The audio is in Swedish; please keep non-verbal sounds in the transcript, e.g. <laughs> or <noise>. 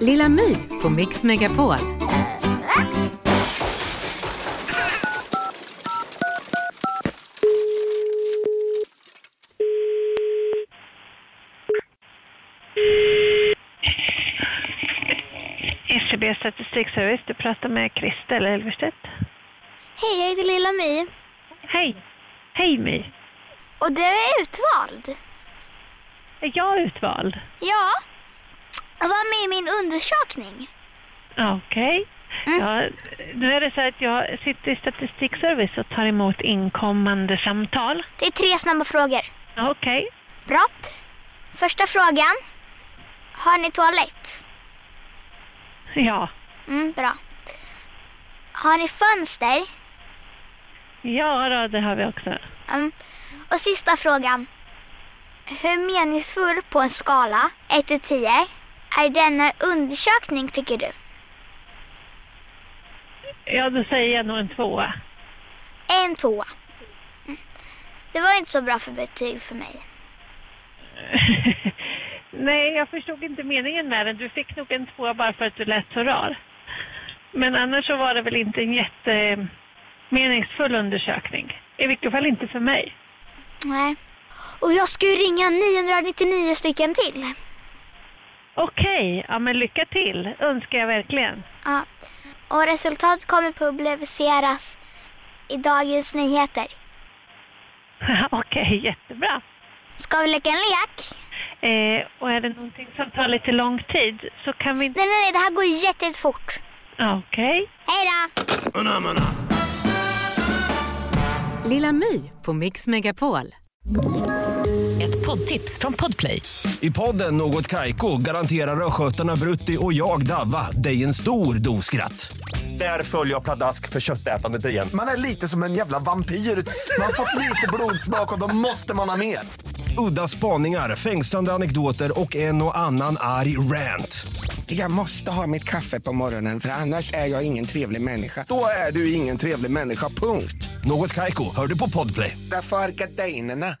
Lilla My på Mix Megapol. SCB Statistikservice, du pratar med Christer Elverstedt. Hej, jag heter Lilla My. Hej! Hej My! Och du är utvald. Är jag utvald? Ja. Jag var med i min undersökning. Okej. Ja, nu är det så att jag sitter i Statistikservice och tar emot inkommande samtal. Det är tre snabba frågor. Okej. Bra. Första frågan. Har ni toalett? Ja. Mm, bra. Har ni fönster? Ja, då, det har vi också. Mm. Och sista frågan. Hur meningsfull på en skala 1 till 10 är denna undersökning tycker du? Ja, då säger jag nog en tvåa. En tvåa. Mm. Det var inte så bra för betyg för mig. <laughs> Nej, jag förstod inte meningen med den. Du fick nog en tvåa bara för att du lät så rar. Men annars så var det väl inte en jättemeningsfull undersökning. I vilket fall inte för mig. Nej. Och jag ska ju ringa 999 stycken till. Okej, ja men lycka till önskar jag verkligen. Ja. Och resultatet kommer publiceras i Dagens Nyheter. <laughs> Okej, jättebra. Ska vi leka en lek? Eh, och är det någonting som tar lite lång tid så kan vi... Nej, nej, nej, det här går ju jätte- jättefort. Ja, Okej. Hej då! Lilla My på Mix Megapol. Ett poddtips från Podplay. I podden Något Kaiko garanterar östgötarna Brutti och jag, Davva, dig en stor dos skratt. Där följer jag pladask för köttätandet igen. Man är lite som en jävla vampyr. Man har fått lite blodsmak och då måste man ha mer. Udda spaningar, fängslande anekdoter och en och annan arg rant. Jag måste ha mitt kaffe på morgonen för annars är jag ingen trevlig människa. Då är du ingen trevlig människa, punkt. Något Kaiko, hör du på Podplay. Därför arkadeinerna.